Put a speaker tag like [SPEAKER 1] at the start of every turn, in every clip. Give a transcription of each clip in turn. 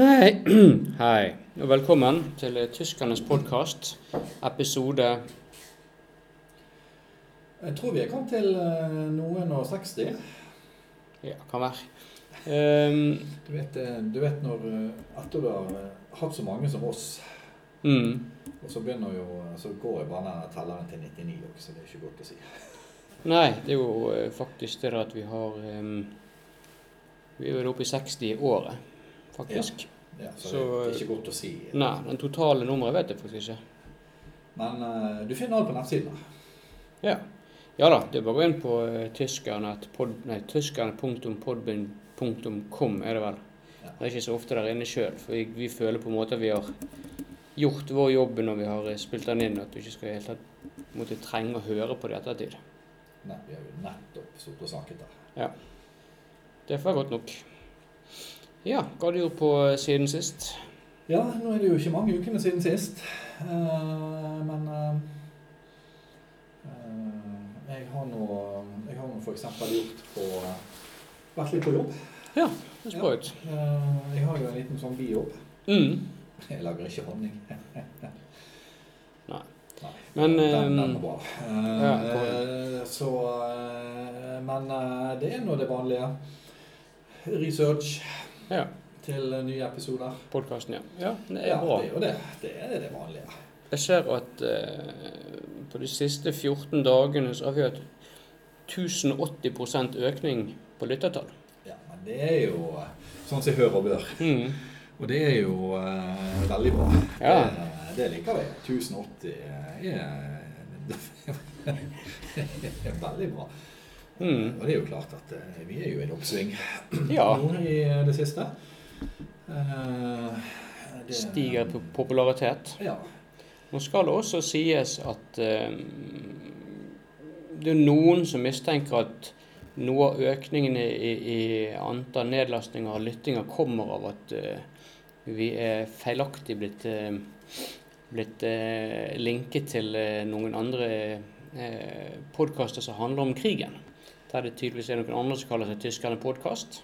[SPEAKER 1] Hei. Hei, og velkommen til eh, Tyskernes podkast, episode
[SPEAKER 2] Jeg tror vi er kommet til eh, noen og 60.
[SPEAKER 1] Ja, kan være. Ehm,
[SPEAKER 2] Du vet, eh, du vet når eh, etter du har eh, hatt så mange som oss,
[SPEAKER 1] mm.
[SPEAKER 2] og så begynner jo eh, Så går jo bare denne telleren til 99 også, så det er ikke godt å si.
[SPEAKER 1] Nei, det er jo eh, faktisk det der at vi har ehm, Vi er vel oppe i 60 i året, faktisk.
[SPEAKER 2] Ja, så,
[SPEAKER 1] Så,
[SPEAKER 2] det er ikke godt å si.
[SPEAKER 1] Nei, den totale nummeret vet jeg faktisk ikke.
[SPEAKER 2] Men eh, du finner alt på nettsidene.
[SPEAKER 1] Ja. Ja da, det er bare å gå inn på eh, tyskerne.pod- nei, tyskerne.podbind.com, er det vel.
[SPEAKER 2] Ja.
[SPEAKER 1] Det er ikke så ofte der inne sjøl, for vi, vi føler på en måte at vi har gjort vår jobb når vi har eh, spilt den inn, at du ikke skal i det hele tatt måtte trenge å høre på det i ettertid.
[SPEAKER 2] Nei, vi har jo nettopp sittet og snakket der.
[SPEAKER 1] Det får jeg godt nok. Ja, hva har du gjort på eh, siden sist?
[SPEAKER 2] Ja, nå er det jo ikke mange ukene siden sist, eh, men eh, eh, jeg har nå jeg har nå for eksempel gjort på vært litt på jobb.
[SPEAKER 1] Det ser bra ut.
[SPEAKER 2] Eh, jeg har jo en liten sånn bijobb.
[SPEAKER 1] Mm.
[SPEAKER 2] Jeg lager ikke honning.
[SPEAKER 1] Nei.
[SPEAKER 2] Nei,
[SPEAKER 1] Men,
[SPEAKER 2] den, den
[SPEAKER 1] ehm,
[SPEAKER 2] er bra.
[SPEAKER 1] ja,
[SPEAKER 2] Eh,
[SPEAKER 1] kom
[SPEAKER 2] så eh, Men eh, det er nå det vanlige. Research
[SPEAKER 1] Ja.
[SPEAKER 2] til eh, nye episoder.
[SPEAKER 1] Podkasten, ja. Ja, det er
[SPEAKER 2] ja,
[SPEAKER 1] bra.
[SPEAKER 2] det er jo det. Det er det vanlige.
[SPEAKER 1] Jeg ser at eh, på de siste 14 dagene så har vi hatt 1080 økning på lyttertall.
[SPEAKER 2] Ja, men det er jo eh, sånn som hør og bør.
[SPEAKER 1] Mm.
[SPEAKER 2] Og det er jo eh, veldig bra.
[SPEAKER 1] Ja.
[SPEAKER 2] Det, eh, det liker vi. 1080 er, er veldig bra.
[SPEAKER 1] Mm.
[SPEAKER 2] Og det er jo klart at eh, vi er jo i en oppsving
[SPEAKER 1] Ja.
[SPEAKER 2] nå i det siste. Eh, det-
[SPEAKER 1] Stiger på popularitet.
[SPEAKER 2] Ja.
[SPEAKER 1] Nå skal det også sies at eh, det er noen som mistenker at noe av økningen i, i i antall nedlastninger og lyttinger kommer av at eh, vi er feilaktig blitt, eh, blitt eh, linket til eh, noen andre eh, podkaster som handler om krigen. Der det tydeligvis er noen andre som kaller seg Tyskerne podkast.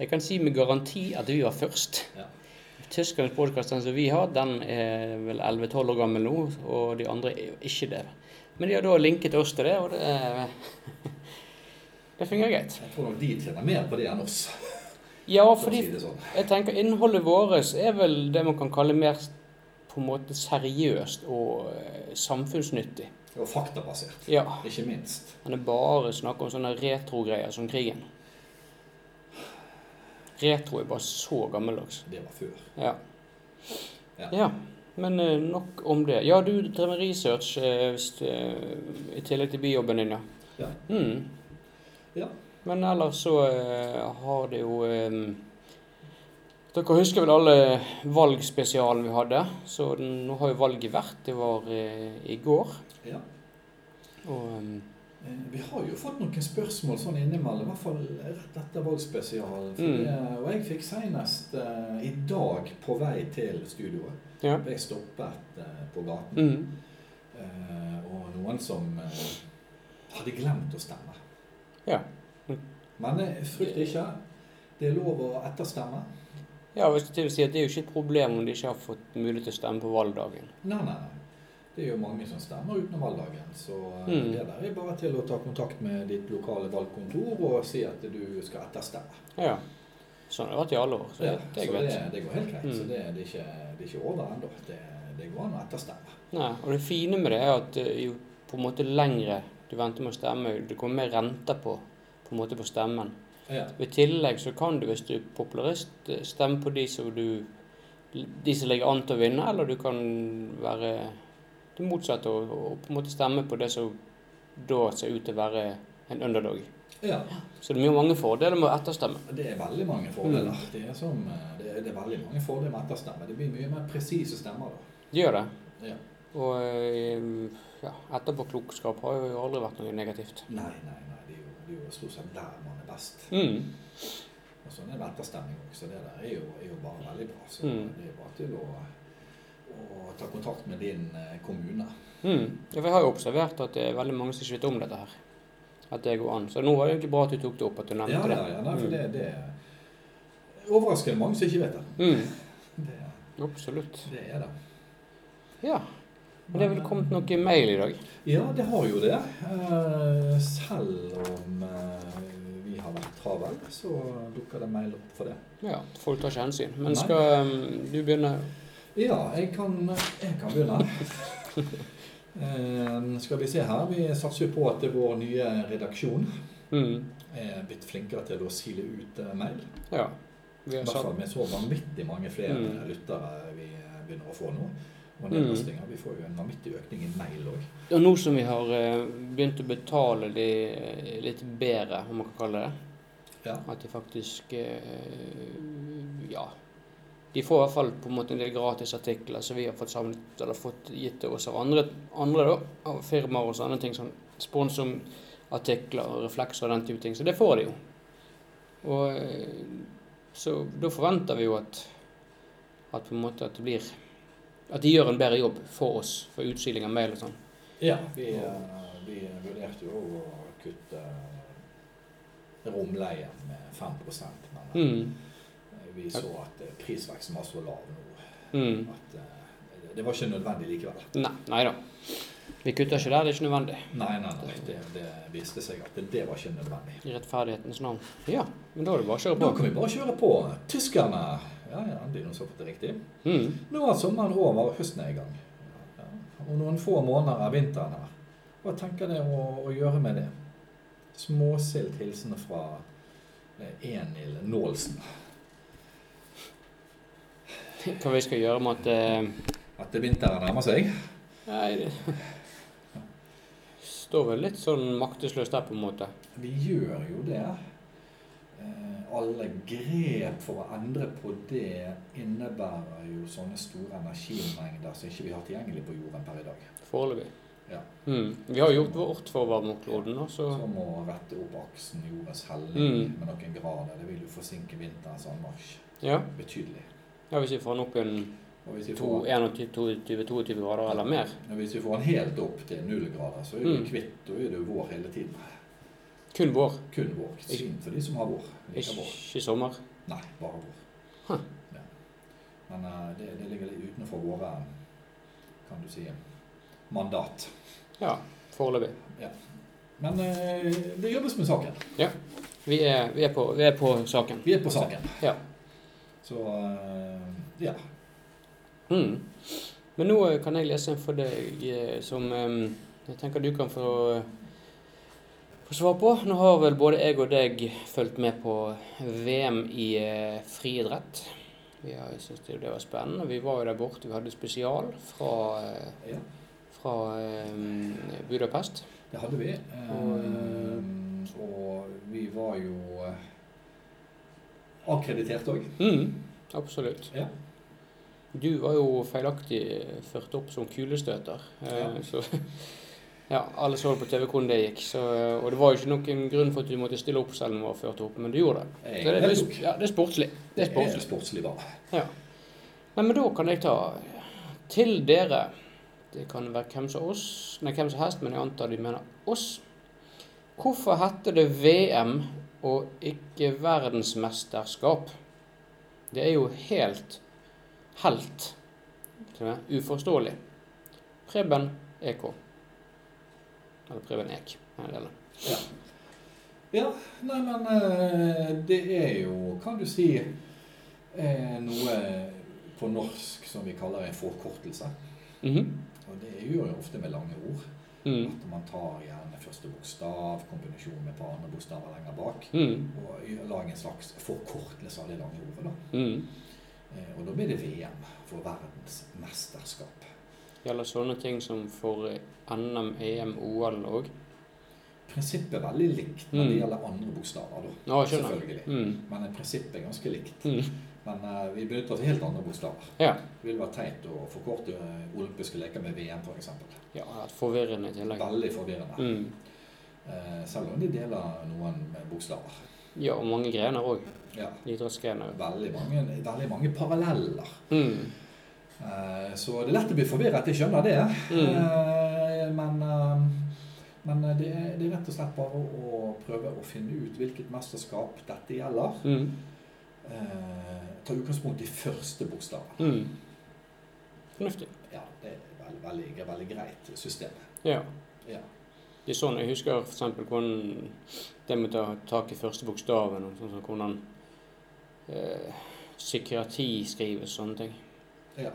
[SPEAKER 1] Jeg kan si med garanti at vi var først.
[SPEAKER 2] Ja.
[SPEAKER 1] Tyskernes podkast, den som vi har, den er vel 11-12 år gammel nå, og de andre er jo ikke det. Men de har da linket oss til det, og det, er- det fungerer greit.
[SPEAKER 2] Jeg tror nok de tjener mer på det enn oss,
[SPEAKER 1] Ja,
[SPEAKER 2] for å
[SPEAKER 1] fordi
[SPEAKER 2] si det sånn.
[SPEAKER 1] jeg tenker innholdet vårt er vel det man kan kalle mer på en måte seriøst og eh, samfunnsnyttig.
[SPEAKER 2] Og faktabasert,
[SPEAKER 1] Ja.
[SPEAKER 2] ikke minst.
[SPEAKER 1] Han er bare snakker om sånne retrogreier som krigen. Retro er bare så gammeldags.
[SPEAKER 2] Det var før.
[SPEAKER 1] Ja.
[SPEAKER 2] Ja.
[SPEAKER 1] ja. Men eh, nok om det. Ja, du drev med research eh, hvis, eh, i tillegg til bijobben din, ja.
[SPEAKER 2] Ja.
[SPEAKER 1] Mm.
[SPEAKER 2] Ja.
[SPEAKER 1] Men ellers så eh, har det jo eh, Dere husker vel alle valgspesialen vi hadde? Så den, nå har jo valget vært. Det var eh, i går.
[SPEAKER 2] ja.
[SPEAKER 1] Og eh,
[SPEAKER 2] Eh, Vi har jo fått noen spørsmål sånn innimellom, i hvert fall rett etter valgspesialen. For
[SPEAKER 1] Mm.
[SPEAKER 2] det- Og jeg fikk senest eh, i dag på vei til studioet.
[SPEAKER 1] ja.
[SPEAKER 2] Ble stoppet eh, på gaten.
[SPEAKER 1] Mm.
[SPEAKER 2] Eh, og noen som eh, hadde glemt å stemme.
[SPEAKER 1] Ja.
[SPEAKER 2] Men eh, frykt ikke. Det er lov å etterstemme.
[SPEAKER 1] Ja, og jeg skulle til å si at Det er jo ikke et problem om de ikke har fått mulighet til å stemme på valgdagen.
[SPEAKER 2] Nei, nei, nei. Det er jo mange som stemmer utenom valgdagen. Så eh,
[SPEAKER 1] Mm.
[SPEAKER 2] det der er bare til å ta kontakt med ditt lokale valgkontor og si at du skal etterstemme.
[SPEAKER 1] Ja. Sånn har det vært i alle år. Så det,
[SPEAKER 2] Ja,
[SPEAKER 1] det er
[SPEAKER 2] så
[SPEAKER 1] greit.
[SPEAKER 2] det, det går helt greit.
[SPEAKER 1] Mm.
[SPEAKER 2] Så det, det, er ikke, det er ikke over ennå. Det, det går an å etterstemme.
[SPEAKER 1] Nei, og det fine med det er at eh, jo på en måte lengre du venter med å stemme, jo- det kommer mer renter på, på, en måte på stemmen.
[SPEAKER 2] Ja.
[SPEAKER 1] Og I tillegg så kan du, hvis du er popularist, eh, stemme på de som du de som ligger an til å vinne, eller du kan være det motsatte og, og på en måte stemme på det som da ser ut til å være en underdog.
[SPEAKER 2] ja.
[SPEAKER 1] Så det er mye mange fordeler med å etterstemme.
[SPEAKER 2] Det er veldig mange fordeler.
[SPEAKER 1] Mm.
[SPEAKER 2] Det, er som, eh, det, er, det er veldig mange fordeler med etterstemme. Det blir mye mer presise stemmer da.
[SPEAKER 1] Det gjør det.
[SPEAKER 2] Ja.
[SPEAKER 1] Og eh, ja, etterpåklokskap har jo aldri vært noe negativt.
[SPEAKER 2] Nei, nei, nei. Det er jo, det er jo stort sett der man er best.
[SPEAKER 1] Mm.
[SPEAKER 2] Og sånn er det etterstemning òg, så det der er jo, er jo bare veldig bra. Så
[SPEAKER 1] Mm.
[SPEAKER 2] det er bare til å, å ta kontakt med din eh, kommune.
[SPEAKER 1] Mm. Ja, for jeg har jo observert at det er veldig mange som ikke vet om dette her. At det går an. Så nå var det egentlig bra at du tok det opp, at du
[SPEAKER 2] Ja,
[SPEAKER 1] nevnte
[SPEAKER 2] ja,
[SPEAKER 1] det.
[SPEAKER 2] ja, nei, for
[SPEAKER 1] Mm.
[SPEAKER 2] det, det overraskende mange som ikke vet det.
[SPEAKER 1] Mm,
[SPEAKER 2] Det,
[SPEAKER 1] absolutt.
[SPEAKER 2] det er det.
[SPEAKER 1] Ja. Og det er vel kommet noe i mail i dag.
[SPEAKER 2] Ja, det har jo det. Eh, Selv om eh, vi har vært travel, så dukker det mail opp for det.
[SPEAKER 1] Ja, folk tar ikke hensyn. Men
[SPEAKER 2] Nei.
[SPEAKER 1] skal um, du begynne?
[SPEAKER 2] Ja, jeg kan, jeg kan begynne. Eh, Skal vi se her. Vi satser jo på at vår nye redaksjon
[SPEAKER 1] Mm,
[SPEAKER 2] er blitt flinkere til å sile ut eh, mail.
[SPEAKER 1] ja. Vi
[SPEAKER 2] I
[SPEAKER 1] har
[SPEAKER 2] hvert
[SPEAKER 1] sagt
[SPEAKER 2] fall med så vanvittig mange flere
[SPEAKER 1] Mm.
[SPEAKER 2] lyttere vi eh, begynner å få nå. Og
[SPEAKER 1] Mm.
[SPEAKER 2] nedlastinger. Vi får jo en vanvittig økning i mail òg.
[SPEAKER 1] Og nå som vi har eh, begynt å betale de eh, litt bedre, om man kan kalle det det,
[SPEAKER 2] Ja.
[SPEAKER 1] at de faktisk eh, Ja. De får i hvert fall på en måte en del gratis artikler som vi har fått samlet eller fått gitt til oss av andre, andre da, av firmaer og sånne ting. Sånn sponsorartikler og reflekser og den type ting. Så det får de jo. Og eh, så da forventer vi jo at, at på en måte at det blir At de gjør en bedre jobb for oss, for utsiling av mail og sånn.
[SPEAKER 2] Ja, vi, eh, vi vurderte jo å kutte eh, romleien med 5 men eh,
[SPEAKER 1] Mm.
[SPEAKER 2] vi så at eh, prisveksten var så lav nå
[SPEAKER 1] Mm.
[SPEAKER 2] at eh, det var ikke nødvendig likevel.
[SPEAKER 1] Nei, nei da. Vi kutter ikke der, det er ikke nødvendig.
[SPEAKER 2] Nei, nei, nei, det, det viste seg at det, det var ikke nødvendig.
[SPEAKER 1] I rettferdighetens navn. Ja, men da er det bare å
[SPEAKER 2] Da
[SPEAKER 1] kjøre på.
[SPEAKER 2] kan vi bare kjøre på. Tyskerne Ja, ja, de har fått det riktig.
[SPEAKER 1] Mm.
[SPEAKER 2] Nå er sommeren over, og høsten er i gang. Ja, og noen få måneder er vinteren her. Hva tenker dere å, å gjøre med det? Småsilt hilsen fra eh, Enil Nålsen.
[SPEAKER 1] Hva vi skal gjøre med at eh,
[SPEAKER 2] At vinteren nærmer seg.
[SPEAKER 1] Nei, det står vel litt sånn maktesløst der, på en måte.
[SPEAKER 2] Vi gjør jo det. Eh, Alle grep for å endre på det innebærer jo sånne store energimengder som ikke vi har tilgjengelig på jorden per i dag.
[SPEAKER 1] Foreløpig.
[SPEAKER 2] Ja. Sånn.
[SPEAKER 1] Mm. Vi har gjort vårt for å varme opp kloden, da, så
[SPEAKER 2] Som å rette opp aksen jordens helling
[SPEAKER 1] Mm.
[SPEAKER 2] med noen grader. Det vil jo forsinke vinterens anmarsj
[SPEAKER 1] ja.
[SPEAKER 2] betydelig.
[SPEAKER 1] ja. Hvis vi får den opp en
[SPEAKER 2] Og hvis vi,
[SPEAKER 1] to-
[SPEAKER 2] får,
[SPEAKER 1] 21 22 22 grader eller mer,
[SPEAKER 2] og hvis vi får den helt opp til null grader, så er vi
[SPEAKER 1] Mm.
[SPEAKER 2] kvitt. Da er det jo vår hele tiden.
[SPEAKER 1] kun vår,
[SPEAKER 2] Kun vår. Synd for de som har vår. Ikke
[SPEAKER 1] ikke
[SPEAKER 2] vår.
[SPEAKER 1] ikke sommer.
[SPEAKER 2] Nei, bare vår.
[SPEAKER 1] Huh.
[SPEAKER 2] Ja. Men eh, det, det ligger litt utenfor våre kan du si, mandat.
[SPEAKER 1] Ja, foreløpig.
[SPEAKER 2] Men eh, det jobbes med saken.
[SPEAKER 1] Vi, er- vi, er på- vi er på saken.
[SPEAKER 2] Vi er på saken.
[SPEAKER 1] Ja.
[SPEAKER 2] Så eh, ja.
[SPEAKER 1] Mm. Men nå eh, kan jeg lese en for deg eh, som eh, jeg tenker du kan få, få svar på. Nå har vel både jeg og deg fulgt med på VM i eh, friidrett. Vi har- Jeg syns det det var spennende. Vi var jo der borte. Vi hadde spesial fra, eh,
[SPEAKER 2] ja.
[SPEAKER 1] fra eh, Budapest.
[SPEAKER 2] Det hadde vi. Ehm,
[SPEAKER 1] eh,
[SPEAKER 2] og vi var jo eh, akkreditert òg.
[SPEAKER 1] Mm, absolutt.
[SPEAKER 2] Ja.
[SPEAKER 1] Du var jo feilaktig eh, ført opp som kulestøter. eh,
[SPEAKER 2] Ja.
[SPEAKER 1] Så, ja, alle så det på TV hvordan det gikk. Så, eh, og det var jo ikke noen grunn for at du måtte stille opp selv om du var ført opp, men du gjorde det. Så det, er litt- ja, det er sportslig. Det er sportslig.
[SPEAKER 2] sportslig, bare.
[SPEAKER 1] Nei, men da kan jeg ta til dere Det kan være hvem som oss, nei, hvem som helst, men jeg antar de mener oss. Hvorfor heter det VM og ikke verdensmesterskap? Det er jo helt helt til og med uforståelig. Preben EK. Eller Preben Ek. en del.
[SPEAKER 2] Ja, nei, men eh, det er jo, kan du si, eh, noe på norsk som vi kaller en forkortelse.
[SPEAKER 1] Mhm.
[SPEAKER 2] Og det gjør jo ofte med lange ord.
[SPEAKER 1] Mm.
[SPEAKER 2] At man tar gjerne første bokstav, kombinasjon med et par andre bokstaver lenger bak.
[SPEAKER 1] Mm.
[SPEAKER 2] Og gjør- lager en slags forkortelse av det lange ordet. da.
[SPEAKER 1] Mm.
[SPEAKER 2] Eh, Og da blir det VM for verdensmesterskap.
[SPEAKER 1] Gjelder sånne ting som for E NM, EM, OL òg?
[SPEAKER 2] Prinsippet er veldig likt når det
[SPEAKER 1] Mm.
[SPEAKER 2] gjelder andre bokstaver, da.
[SPEAKER 1] Ja, jeg skjønner.
[SPEAKER 2] Selvfølgelig.
[SPEAKER 1] Mm.
[SPEAKER 2] Men prinsippet er ganske likt.
[SPEAKER 1] Mm.
[SPEAKER 2] Men eh, vi benytter oss av helt andre bokstaver.
[SPEAKER 1] Ja.
[SPEAKER 2] Det ville vært teit å forkorte eh, olympiske leker med VM, f.eks.
[SPEAKER 1] Ja, det har vært forvirrende i tillegg.
[SPEAKER 2] Veldig forvirrende.
[SPEAKER 1] Mm.
[SPEAKER 2] Eh, Selv om de deler noen eh, bokstaver.
[SPEAKER 1] Ja, og mange grener òg.
[SPEAKER 2] Ja.
[SPEAKER 1] Idrettsgrener.
[SPEAKER 2] Veldig mange, veldig mange paralleller.
[SPEAKER 1] Mm.
[SPEAKER 2] Eh, Så det er lett å bli forvirret, jeg skjønner det.
[SPEAKER 1] Mm.
[SPEAKER 2] Eh, Men, eh, men det, er, det er rett og slett bare å prøve å finne ut hvilket mesterskap dette gjelder.
[SPEAKER 1] Mm.
[SPEAKER 2] eh, tar utgangspunkt i første bokstaven.
[SPEAKER 1] Mm. Fornuftig.
[SPEAKER 2] Ja, det er veldig, veldig, veldig greit system.
[SPEAKER 1] Ja.
[SPEAKER 2] Ja.
[SPEAKER 1] Det er sånn, Jeg husker f.eks. hvordan det med å ta tak i første bokstaven, og sånn som hvordan eh, psykiatri skrives, sånne ting.
[SPEAKER 2] ja.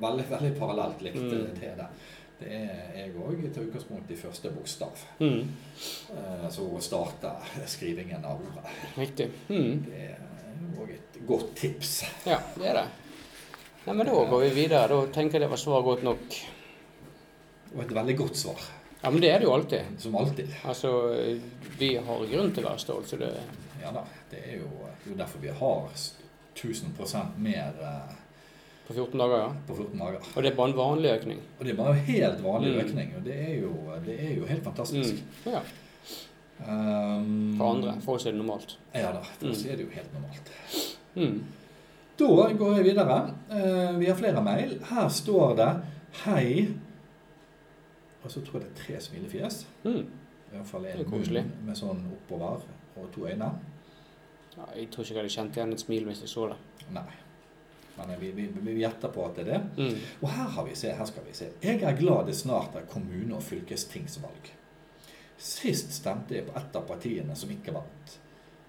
[SPEAKER 2] Veldig, veldig parallelt likt
[SPEAKER 1] Mm.
[SPEAKER 2] eh, det der. Det er jeg òg. Tar utgangspunkt i første bokstav.
[SPEAKER 1] Mm.
[SPEAKER 2] Eh, så starter skrivingen av ordet.
[SPEAKER 1] Riktig. Mm.
[SPEAKER 2] Det er òg et godt tips.
[SPEAKER 1] Ja, det er det. Nei, men Da går vi videre. Da tenker jeg det var svar godt nok.
[SPEAKER 2] Og et veldig godt svar.
[SPEAKER 1] Ja, Men det er det jo alltid.
[SPEAKER 2] Som alltid.
[SPEAKER 1] Altså, Vi har grunn til å være stolte. så det-
[SPEAKER 2] Ja da. Det er jo, det er jo derfor vi har s- 1000 mer eh,
[SPEAKER 1] på 14 dager. ja.
[SPEAKER 2] på 14 dager.
[SPEAKER 1] Og det er bare en vanlig økning.
[SPEAKER 2] Og det er bare en helt vanlig
[SPEAKER 1] Mm.
[SPEAKER 2] økning, og det er jo, det er jo helt fantastisk.
[SPEAKER 1] Mm. Ja,
[SPEAKER 2] Um,
[SPEAKER 1] Mm. For andre. For oss er det normalt.
[SPEAKER 2] Ja da, for oss
[SPEAKER 1] Mm.
[SPEAKER 2] er det jo helt normalt.
[SPEAKER 1] Mm.
[SPEAKER 2] Da går jeg videre. Eh, vi har flere mail. Her står det 'Hei' Og så tror jeg det er tre smilefjes.
[SPEAKER 1] Mm.
[SPEAKER 2] I hvert fall
[SPEAKER 1] Det
[SPEAKER 2] en
[SPEAKER 1] er koselig.
[SPEAKER 2] munn med sånn oppover og to øyne.
[SPEAKER 1] Ja, jeg tror ikke jeg hadde kjent igjen et smil hvis jeg så det.
[SPEAKER 2] Nei. Men eh, vi, vi, vi gjetter på at det er det.
[SPEAKER 1] Mm.
[SPEAKER 2] Og her, har vi se, her skal vi se. Jeg er glad det snart er kommune- og fylkestingsvalg. Sist stemte jeg på ett av partiene som ikke vant.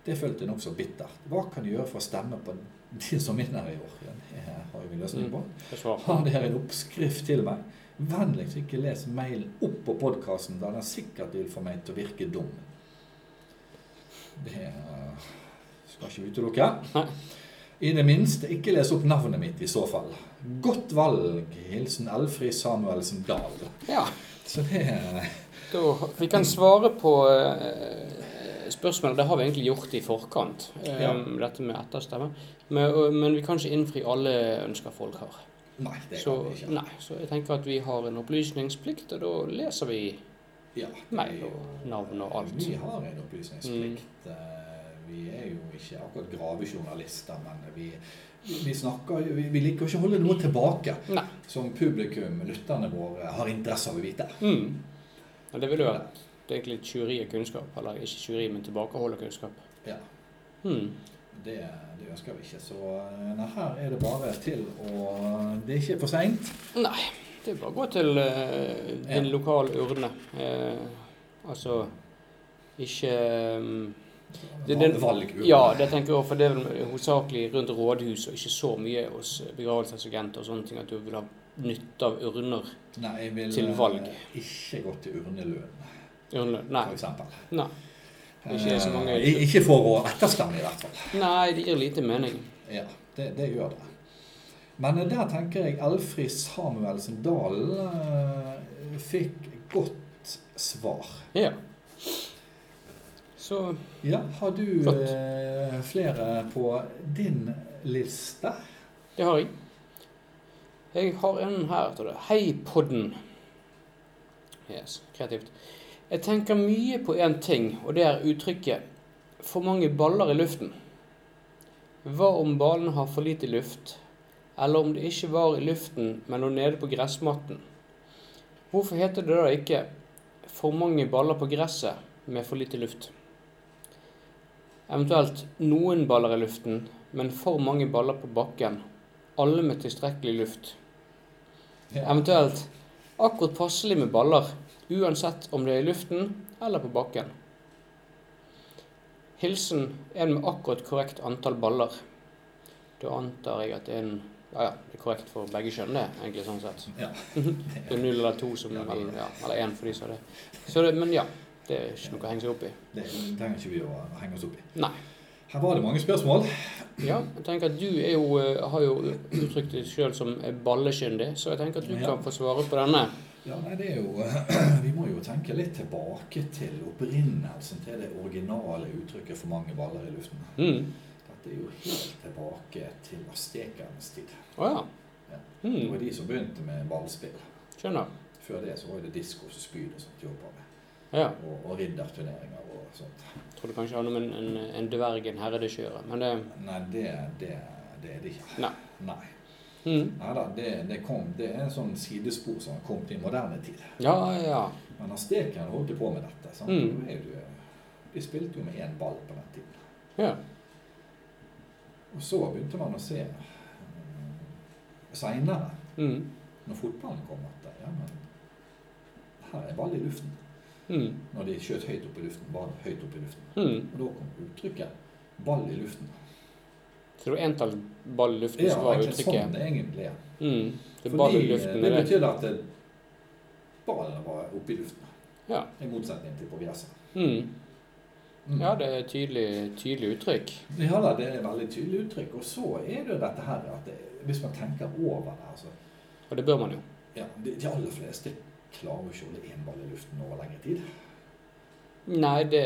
[SPEAKER 2] Det følte jeg nokså bittert. Hva kan jeg gjøre for å stemme på de som vinner i år? Ja, det har jo vi løsning på.
[SPEAKER 1] Det er svar.
[SPEAKER 2] Har dere en oppskrift til meg? Vennligst ikke les mailen opp på podkasten, da den sikkert vil få meg til å virke dum. Det eh, skal ikke utelukke.
[SPEAKER 1] Nei.
[SPEAKER 2] I det minste ikke les opp navnet mitt i så fall. Godt valg. Hilsen Elfrid Samuelsen Dahl.
[SPEAKER 1] Ja,
[SPEAKER 2] Så det eh,
[SPEAKER 1] da, vi kan svare på eh, spørsmålet. Det har vi egentlig gjort i forkant, eh,
[SPEAKER 2] Ja.
[SPEAKER 1] dette med etterstemme. Men, og- men vi kan ikke innfri alle ønsker folk har.
[SPEAKER 2] Nei, det
[SPEAKER 1] Så,
[SPEAKER 2] kan vi ikke.
[SPEAKER 1] nei, så jeg tenker at vi har en opplysningsplikt, og da leser vi
[SPEAKER 2] Ja, det er
[SPEAKER 1] mail
[SPEAKER 2] jo-
[SPEAKER 1] og navn og alt. Mm.
[SPEAKER 2] Vi har en opplysningsplikt. Eh, Vi er jo ikke akkurat gravejournalister, men vi, vi snakker jo- vi, vi liker jo ikke å holde noe tilbake
[SPEAKER 1] Nei.
[SPEAKER 2] som publikum, lytterne våre, har interesse av å vite.
[SPEAKER 1] Mm. Og det ville jo vært det er egentlig tjuveri av kunnskap. Eller ikke tjuveri, men tilbakehold av kunnskap.
[SPEAKER 2] Ja,
[SPEAKER 1] Mm.
[SPEAKER 2] det, det ønsker vi ikke. Så eh, nei, her er det bare til å Det er ikke for seint.
[SPEAKER 1] Nei, det er bare å gå til eh, din
[SPEAKER 2] Ja.
[SPEAKER 1] lokale urne. Eh, altså ikke um, Det- det-
[SPEAKER 2] Valgurne.
[SPEAKER 1] Ja, det tenker jeg også, for det er vel hovedsakelig rundt rådhus og ikke så mye hos begravelsesagenter og sånne ting at du vil ha nytte av urner.
[SPEAKER 2] Nei, jeg vil
[SPEAKER 1] til
[SPEAKER 2] eh,
[SPEAKER 1] valg.
[SPEAKER 2] ikke gå til urneløn,
[SPEAKER 1] Urne. Nei.
[SPEAKER 2] for eksempel.
[SPEAKER 1] Nei. Ikke så mange-
[SPEAKER 2] Eh, i- ikke for å etterstemme, i hvert fall.
[SPEAKER 1] Nei, det gir lite mening.
[SPEAKER 2] Ja, det, det gjør det. Men der tenker jeg Elfrid Samuelsen Dalen eh, fikk godt svar.
[SPEAKER 1] Ja. Så
[SPEAKER 2] Ja, har du
[SPEAKER 1] Flott.
[SPEAKER 2] eh, flere på din liste?
[SPEAKER 1] det har jeg. Jeg har en her, tror jeg. Hei, podden. Yes, kreativt. Jeg tenker mye på én ting, og det er uttrykket 'for mange baller i luften'. Hva om ballen har for lite luft? Eller om det ikke var i luften, men lå nede på gressmatten? Hvorfor heter det da ikke 'for mange baller på gresset med for lite luft'? Eventuelt 'noen baller i luften, men for mange baller på bakken'. Alle med tilstrekkelig luft.
[SPEAKER 2] Ja.
[SPEAKER 1] Eventuelt akkurat passelig med baller, uansett om det er i luften eller på bakken. Hilsen en med akkurat korrekt antall baller. Da antar jeg at det er en Ja, ja, det er korrekt for begge kjønn, det, egentlig, sånn sett.
[SPEAKER 2] Ja.
[SPEAKER 1] Det er null eller to som
[SPEAKER 2] Ja,
[SPEAKER 1] Eller ja, eller én for de som er det. Så det. Men ja, det er ikke noe å henge seg opp i.
[SPEAKER 2] Det trenger ikke vi å henge oss opp i.
[SPEAKER 1] Nei.
[SPEAKER 2] Her var det mange spørsmål.
[SPEAKER 1] Ja, jeg tenker at du er jo, eh, har jo uttrykt deg sjøl som eh, ballekyndig, så jeg tenker at du
[SPEAKER 2] Ja.
[SPEAKER 1] kan få svare på denne.
[SPEAKER 2] Ja, nei, det er jo Vi må jo tenke litt tilbake til opprinnelsen til det originale uttrykket 'for mange baller i luften'.
[SPEAKER 1] Mm.
[SPEAKER 2] Dette er jo helt tilbake til aztekernes tid.
[SPEAKER 1] Å
[SPEAKER 2] Ja.
[SPEAKER 1] ja.
[SPEAKER 2] Det var
[SPEAKER 1] Mm.
[SPEAKER 2] de som begynte med ballspill.
[SPEAKER 1] Skjønner.
[SPEAKER 2] Før det så var det disko og spyd og sånt de holdt på med.
[SPEAKER 1] Ja.
[SPEAKER 2] Og, og ridderturneringer og sånt.
[SPEAKER 1] Trodde kanskje han om en, en, en dverg, en herredekjøre, men eh, det
[SPEAKER 2] Nei, det, det, det er det ikke.
[SPEAKER 1] Nei.
[SPEAKER 2] Nei.
[SPEAKER 1] mm.
[SPEAKER 2] Neida, det, det, kom, det er en sånn sidespor som har kommet i moderne tid.
[SPEAKER 1] Ja, ja.
[SPEAKER 2] Men aztekerne holdt jo på med dette. Sant?
[SPEAKER 1] Mm.
[SPEAKER 2] Det er jo- De spilte jo med én ball på den tiden.
[SPEAKER 1] Ja.
[SPEAKER 2] Og så begynte man å se seinere,
[SPEAKER 1] Mm.
[SPEAKER 2] når fotballen kom, at ja, men her er ball i luften.
[SPEAKER 1] Mm.
[SPEAKER 2] Når de skjøt høyt opp i luften, ball høyt opp i luften.
[SPEAKER 1] Mm.
[SPEAKER 2] Og da kom uttrykket 'ball i luften'.
[SPEAKER 1] Så det var entall ball i luften
[SPEAKER 2] Det er
[SPEAKER 1] som var
[SPEAKER 2] egentlig sånn
[SPEAKER 1] uttrykket?
[SPEAKER 2] det egentlig er.
[SPEAKER 1] Mm. Det er ball i
[SPEAKER 2] Fordi eh,
[SPEAKER 1] luften.
[SPEAKER 2] det
[SPEAKER 1] er det.
[SPEAKER 2] betydde at det- ballen var oppe i luften.
[SPEAKER 1] Ja.
[SPEAKER 2] I motsetning til på gresset.
[SPEAKER 1] Mm.
[SPEAKER 2] Mm.
[SPEAKER 1] ja, det er et tydelig, tydelig uttrykk.
[SPEAKER 2] Ja da, det er et veldig tydelig uttrykk. Og så er det jo dette her at det, hvis man tenker over det altså,
[SPEAKER 1] Og det bør man jo.
[SPEAKER 2] ja, de, de aller fleste klarer jo ikke å holde én ball i luften over lengre tid.
[SPEAKER 1] Nei, det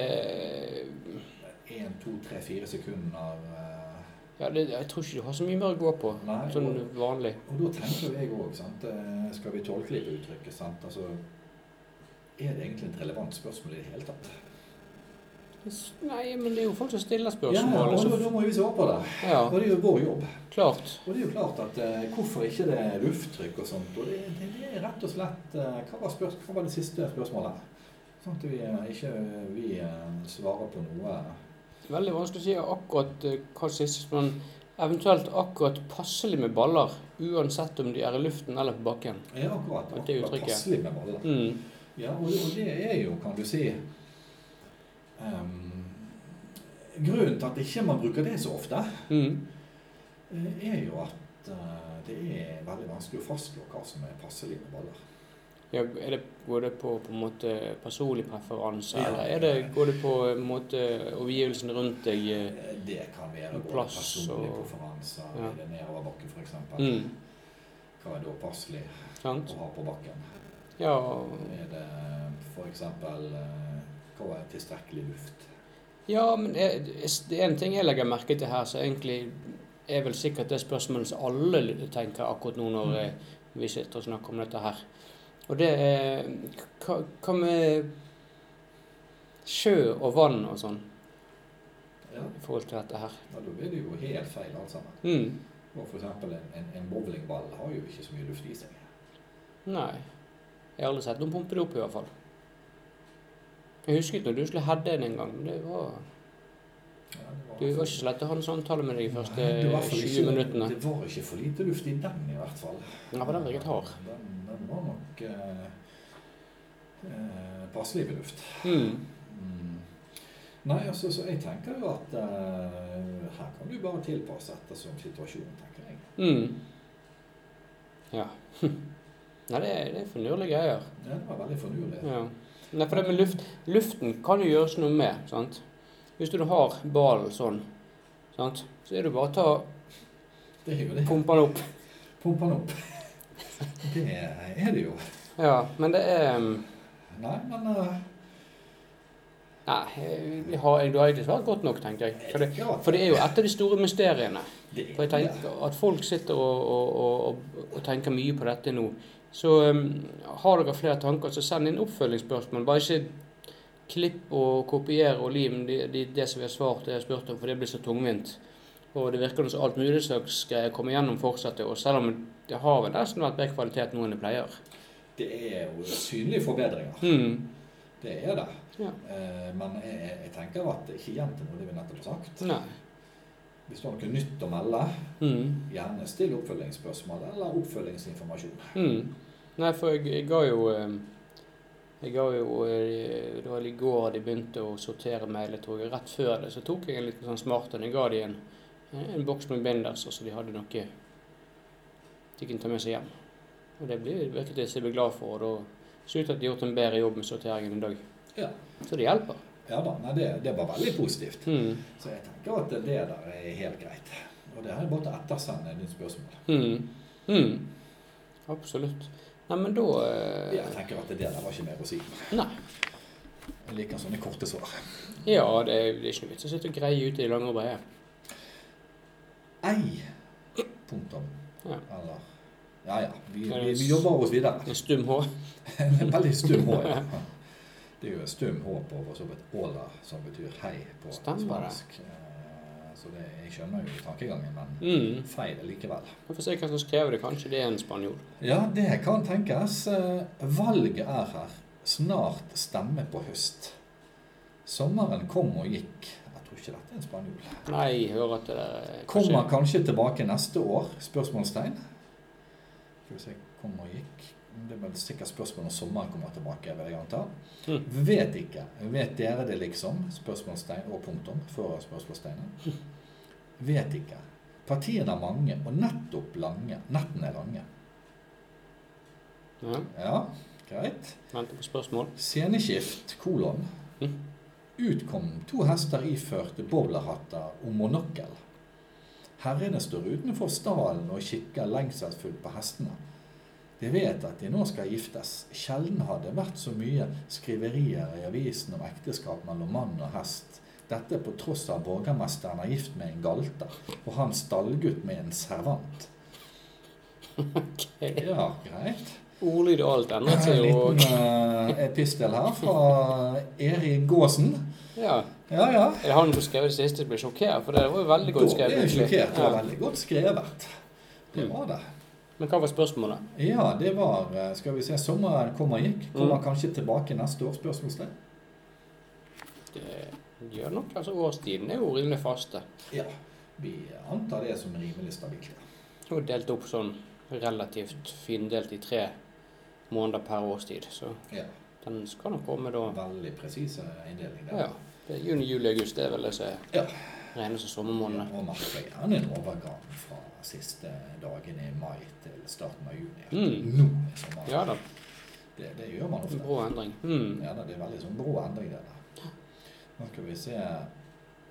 [SPEAKER 2] Én, to, tre, fire sekunder. eh,
[SPEAKER 1] ja, det, Jeg tror ikke du har så mye mer å gå på,
[SPEAKER 2] Nei.
[SPEAKER 1] sånn
[SPEAKER 2] og-
[SPEAKER 1] vanlig.
[SPEAKER 2] Og da tenker jo jeg òg, skal vi tolklippe uttrykket? sant? Altså, er det egentlig et relevant spørsmål i det hele tatt?
[SPEAKER 1] Nei, men det er jo folk som stiller
[SPEAKER 2] Ja,
[SPEAKER 1] spørsmål. altså.
[SPEAKER 2] og
[SPEAKER 1] og
[SPEAKER 2] da,
[SPEAKER 1] så-
[SPEAKER 2] da må vi svare på det.
[SPEAKER 1] Ja,
[SPEAKER 2] Og det er jo vår jobb.
[SPEAKER 1] klart.
[SPEAKER 2] Og det er jo klart at eh, hvorfor ikke det er lufttrykk og sånt. Og det, det, det er rett og slett eh, hva, var spørs, hva var det siste spørsmålet? Sånn at vi eh, ikke vi eh, svarer på noe
[SPEAKER 1] Veldig vanskelig å si akkurat eh, hva siste men eventuelt akkurat passelig med baller, uansett om de er i luften eller på bakken.
[SPEAKER 2] Ja, akkurat.
[SPEAKER 1] Ja, det er
[SPEAKER 2] akkurat
[SPEAKER 1] uttrykket.
[SPEAKER 2] passelig med baller.
[SPEAKER 1] Mm.
[SPEAKER 2] Ja, og, og det er jo, kan du si ehm, Grunnen til at ikke man bruker det så ofte,
[SPEAKER 1] Mm.
[SPEAKER 2] eh, er jo at eh, det er veldig vanskelig å fastslå hva som er passelig med baller.
[SPEAKER 1] Ja, er det, går det på, på en måte personlig preferanse,
[SPEAKER 2] Ja.
[SPEAKER 1] eller er det, går det på eh, en måte omgivelsene rundt deg? eh?
[SPEAKER 2] Det kan være både
[SPEAKER 1] Plass
[SPEAKER 2] personlige
[SPEAKER 1] og-
[SPEAKER 2] preferanser,
[SPEAKER 1] Ja.
[SPEAKER 2] er det nedoverbakke f.eks.
[SPEAKER 1] Mm.
[SPEAKER 2] Hva er da passelig
[SPEAKER 1] Sant?
[SPEAKER 2] å ha på bakken?
[SPEAKER 1] Ja,
[SPEAKER 2] Er det f.eks. hva er tilstrekkelig luft?
[SPEAKER 1] ja men er, er- det er en ting jeg legger merke til her, så egentlig er vel sikkert det spørsmålet som alle l- tenker akkurat nå når eh, vi sitter og snakker om dette her. Og det er Hva hva med sjø og vann og sånn
[SPEAKER 2] Ja,
[SPEAKER 1] i forhold til dette her?
[SPEAKER 2] ja, Da blir det jo helt feil alt sammen.
[SPEAKER 1] Mm.
[SPEAKER 2] Og f.eks. En, en, en bowlingball har jo ikke så mye luft i seg.
[SPEAKER 1] Nei. Jeg har aldri sett noen pumpe det opp, i hvert fall. Jeg husket når du skulle heade en en gang. men Det var,
[SPEAKER 2] Ja, det var-
[SPEAKER 1] du var ikke så lett å ha en samtale med deg de første
[SPEAKER 2] Nei, det var i hvert fall
[SPEAKER 1] 20
[SPEAKER 2] ikke-
[SPEAKER 1] minuttene.
[SPEAKER 2] Det var ikke for lite luft i den, i hvert fall.
[SPEAKER 1] Ja, for den virket hard.
[SPEAKER 2] Den, den var nok eh, eh, passelig med luft.
[SPEAKER 1] Mm.
[SPEAKER 2] Mm. Nei, altså, så jeg tenker jo at eh, her kan du bare tilpasse ettersom situasjonen, tenker jeg.
[SPEAKER 1] Mm. Ja. Nei, det er, det er finurlige greier.
[SPEAKER 2] Ja, det var veldig fornuelig.
[SPEAKER 1] Ja. Nei, for det med luft Luften kan jo gjøres noe med, sant? Hvis du har ballen sånn, sant? så er det bare å ta
[SPEAKER 2] Det er jo det.
[SPEAKER 1] pumpe den opp.
[SPEAKER 2] Pumpe den opp. det er det jo.
[SPEAKER 1] Ja, men det er um,
[SPEAKER 2] Nei, men eh,
[SPEAKER 1] Nei, vi har, du har egentlig svart godt nok, tenker jeg. For det,
[SPEAKER 2] jeg tenker at
[SPEAKER 1] for det er jo et av de store mysteriene.
[SPEAKER 2] det er
[SPEAKER 1] For jeg tenker At folk sitter og, og, og, og tenker mye på dette nå. Så um, har dere flere tanker, så send inn oppfølgingsspørsmål. Bare ikke klipp og kopier og lim det, det, det som vi har svart, det jeg har spurt om, for det blir så tungvint. Og det virker som alt mulig slags greier kommer gjennom fortsetter, og selv om det har vel nesten vært bedre kvalitet nå enn det pleier.
[SPEAKER 2] det er jo synlige forbedringer.
[SPEAKER 1] Mm.
[SPEAKER 2] Det er det.
[SPEAKER 1] Ja.
[SPEAKER 2] Eh, men jeg, jeg- jeg tenker at ikke gjenta noe av det vi nettopp har sagt.
[SPEAKER 1] Nei.
[SPEAKER 2] Hvis du har noe nytt å melde,
[SPEAKER 1] Mm.
[SPEAKER 2] gjerne still oppfølgingsspørsmål eller oppfølgingsinformasjon.
[SPEAKER 1] Mm. Nei, for jeg, jeg ga jo eh, Jeg ga jo eh, Det var i går de begynte å sortere mailer, tror jeg. Rett før det så tok jeg en liten sånn smart en. Jeg ga de en, en boks med binders, og så de hadde noe de kunne ta med seg hjem. Og det ble, virket de seg glad for, og da så ut til at de har gjort en bedre jobb med sorteringen i dag.
[SPEAKER 2] Ja.
[SPEAKER 1] Så det hjelper.
[SPEAKER 2] Ja da, nei, det, det var veldig positivt.
[SPEAKER 1] Mm.
[SPEAKER 2] Så jeg tenker at det der er helt greit. Og det er bare til å ettersende nytt spørsmål.
[SPEAKER 1] Mm. Mm. Absolutt. Nei, men da eh,
[SPEAKER 2] Jeg tenker at det der var ikke mer å si.
[SPEAKER 1] Nei.
[SPEAKER 2] Jeg liker sånne korte svar.
[SPEAKER 1] Ja, det er, det er ikke noe vits å sitte og greie ut i det lange og brede.
[SPEAKER 2] Ei. Punktum.
[SPEAKER 1] Ja.
[SPEAKER 2] Eller Ja ja, vi, vi, vi jobber oss videre.
[SPEAKER 1] En stum hår.
[SPEAKER 2] En veldig stum H. Ja. Det er jo stum H på for så vidt åla, som betyr hei på
[SPEAKER 1] Stemmer det.
[SPEAKER 2] spansk. Eh, Så det, jeg skjønner jo tankegangen, men
[SPEAKER 1] Mm.
[SPEAKER 2] feil likevel.
[SPEAKER 1] Vi får se hva som skrev det. Kanskje det er en spanjol.
[SPEAKER 2] Ja, det kan tenkes. Eh, Valget er her. Snart stemme på høst. Sommeren kom og gikk. Jeg tror ikke dette er en spanjol.
[SPEAKER 1] Nei, jeg hører at det er
[SPEAKER 2] Kommer kanskje tilbake neste år? Spørsmålstegn. Skal vi se kom og gikk. Det er vel sikkert spørsmål om sommeren kommer tilbake, vil jeg anta.
[SPEAKER 1] Mm.
[SPEAKER 2] Vet ikke. Vet dere det, liksom? Spørsmålstegn og punktum før spørsmålstegnet. Vet ikke. Partiene er mange, og nettopp lange. Nettene er lange.
[SPEAKER 1] Ja,
[SPEAKER 2] Ja, greit.
[SPEAKER 1] Venter på spørsmål.
[SPEAKER 2] Sceneskift, kolon.
[SPEAKER 1] Mhm.
[SPEAKER 2] Utkom to hester iført bowlerhatter og monokkel. Herrene står utenfor stallen og kikker lengselsfullt på hestene. De vet at de nå skal giftes. Sjelden har det vært så mye skriverier i avisen om ekteskap mellom mann og hest. Dette på tross av borgermesteren er gift med en galter, og hans stallgutt med en servant.
[SPEAKER 1] Okay.
[SPEAKER 2] Ja, greit.
[SPEAKER 1] Ordlyd og alt
[SPEAKER 2] En
[SPEAKER 1] endret seg jo.
[SPEAKER 2] liten eh, epistel her fra Erik Gåsen.
[SPEAKER 1] Ja.
[SPEAKER 2] Ja, ja.
[SPEAKER 1] Er det han som skrev det siste? Jeg ble sjokkert, for det var jo veldig godt
[SPEAKER 2] Da
[SPEAKER 1] skrevet.
[SPEAKER 2] ble jeg
[SPEAKER 1] egentlig.
[SPEAKER 2] sjokkert. Det var veldig godt skrevet. Det
[SPEAKER 1] Mm.
[SPEAKER 2] var det.
[SPEAKER 1] Men hva var spørsmålet?
[SPEAKER 2] Ja, det var eh, Skal vi se. Sommeren kom og gikk. Kommer
[SPEAKER 1] Mm.
[SPEAKER 2] kanskje tilbake neste år? Spørsmålstegn.
[SPEAKER 1] Det gjør nok altså årstiden er jo rimelig faste.
[SPEAKER 2] Ja. Vi antar det som rimelig stabilt. ja.
[SPEAKER 1] Og delt opp sånn relativt findelt i tre måneder per årstid. Så
[SPEAKER 2] Ja.
[SPEAKER 1] den skal nok komme da.
[SPEAKER 2] Veldig presis eh, inndeling der.
[SPEAKER 1] Ja, det er juni, juli, august. Det er vel det som
[SPEAKER 2] Ja.
[SPEAKER 1] regnes som sommermånedene.
[SPEAKER 2] Og merker gjerne en overgang fra siste dagen i mai til starten av juni.
[SPEAKER 1] Mm.
[SPEAKER 2] Nå er sommeren.
[SPEAKER 1] Ja da,
[SPEAKER 2] Det, det gjør man ofte.
[SPEAKER 1] brå endring. Mm.
[SPEAKER 2] Ja, da, det er veldig sånn brå endring det der. Nå skal vi se